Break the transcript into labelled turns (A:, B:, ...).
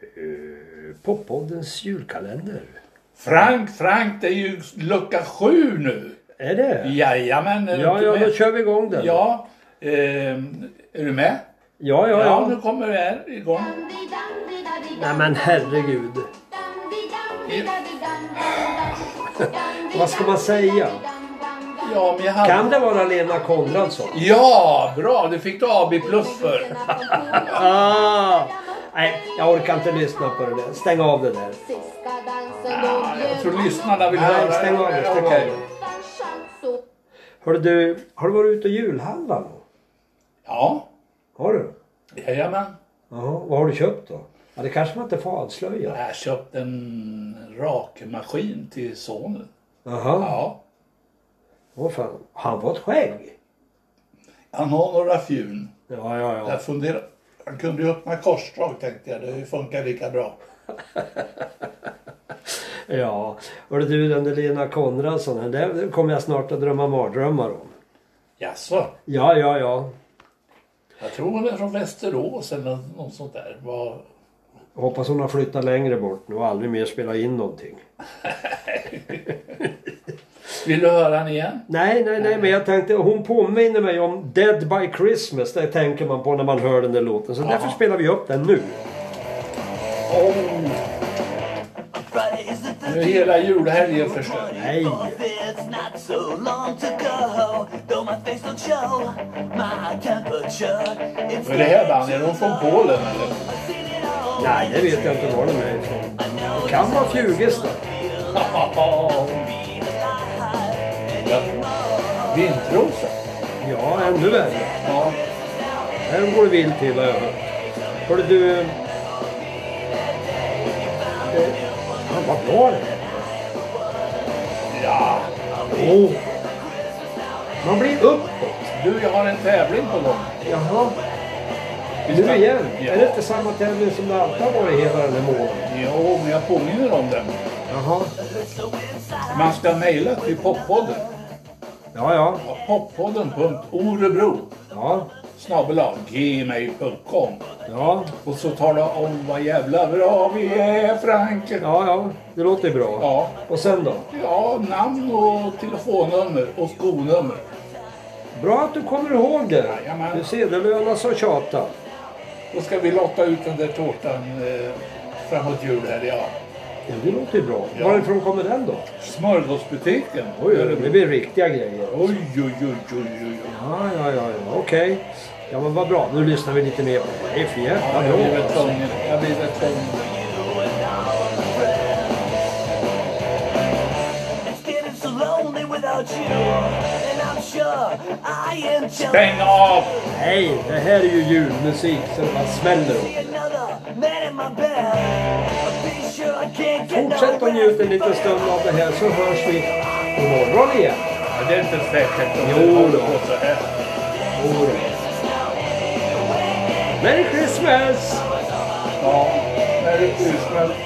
A: eh, Poppoddens julkalender.
B: Frank, Frank, det är ju lucka sju nu.
A: Är det?
B: Jajamän, är du
A: Ja,
B: inte
A: ja,
B: med?
A: då kör vi igång den.
B: Ja, ehm, är du med?
A: ja, ja.
B: ja,
A: ja.
B: nu kommer det här igång.
A: Nej men herregud. Vad ska man säga?
B: Ja, men jag hade...
A: Kan det vara Lena Konradsson?
B: Ja, bra. Det fick du AB plus för.
A: Ah, nej, jag orkar inte lyssna på det där. Stäng av det där.
B: Ja, jag tror lyssnarna vill höra.
A: Nej, stäng av det. Stäng av det. Hörru du, har du varit ute och julhandlat då?
B: Ja,
A: Har du?
B: jajamän.
A: Jaha, vad har du köpt då? Ja, det kanske man inte får avslöja.
B: Jag köpte en rakmaskin till sonen.
A: Jaha,
B: Ja,
A: åh fan. Han var ett skägg.
B: han har några fjun.
A: Ja, ja, ja.
B: Jag funderar. Han kunde ju öppna korsdrag tänkte jag. Det funkar lika bra.
A: Ja, hörru du den där Lena Konradsson, den där kommer jag snart att drömma mardrömmar om.
B: Jaså?
A: Ja, ja, ja.
B: Jag tror hon är från Västerås eller något sånt där. Var...
A: Hoppas hon har flyttat längre bort nu och aldrig mer spelat in någonting.
B: Vill du höra den igen?
A: Nej, nej, nej, men jag tänkte, hon påminner mig om Dead by Christmas. Det tänker man på när man hör den där låten. Så därför spelar vi upp den nu.
B: Nu är hela julhelgen förstörd.
A: Nej.
C: It's not so long to go, though my face don't show my temperature. It's
B: Vad är det här bandet? Är de från Polen eller?
A: Nej, det vet jag inte var den är ifrån. Det kan vara Fjugesta.
B: Ja. Vintrosa?
A: Ja, ännu värre.
B: Ja.
A: Här går det vilt till har jag hört. Hörru du... eh, Fan, vad bra det är.
B: ja.
A: Åh. Man blir uppåt.
B: Du, jag har en tävling på gång.
A: Jaha. Nu igen.
B: Ja.
A: Är det inte samma tävling som det alltid har varit hela den här månaden?
B: Jo, men jag påminner om den.
A: Jaha.
B: Man ska mejla till poppodden.
A: Ja, ja.
B: Ja, Poppodden.orebro
A: Ja.
B: snabel gmail.com
A: Ja.
B: och så tala om vad jävla bra vi är Frank.
A: Ja, ja. Det låter ju bra.
B: Ja.
A: Och sen då?
B: Ja, namn och telefonnummer och skonummer.
A: Bra att du kommer ihåg det.
B: Jajamän.
A: Du ser, det lönar sig att tjata.
B: Då ska vi lotta ut den där tårtan eh, framåt jul här, ja.
A: Ja, det låter ju bra.
B: Ja.
A: Varifrån kommer den då?
B: Smörgåsbutiken.
A: Oj, oj, det blir riktiga grejer.
B: oj, oj, oj, oj, oj.
A: Ja, ja, ja, ja. okej. Ja, men vad bra. Nu lyssnar vi lite mer på det. Det är för jävla
B: Ja, jag blir
A: bra.
B: väl
A: alltså.
B: tvungen. Jag blir väl tvungen.
C: It's getting so lonely without you, and I'm sure I am jealous.
B: Stäng av!
A: Nej, det här är ju julmusik så det bara smäller
C: See
A: upp.
C: another man in my bed. I'll be sure I can't get no
A: Fortsätt att njuta en liten stund av det här så hörs vi imorgon igen.
B: Ja, det är inte säkert om
A: Jo
B: det håller
A: då.
B: på så här.
A: Imorgon. Merry Christmas!
B: Ja, när det är ursmält.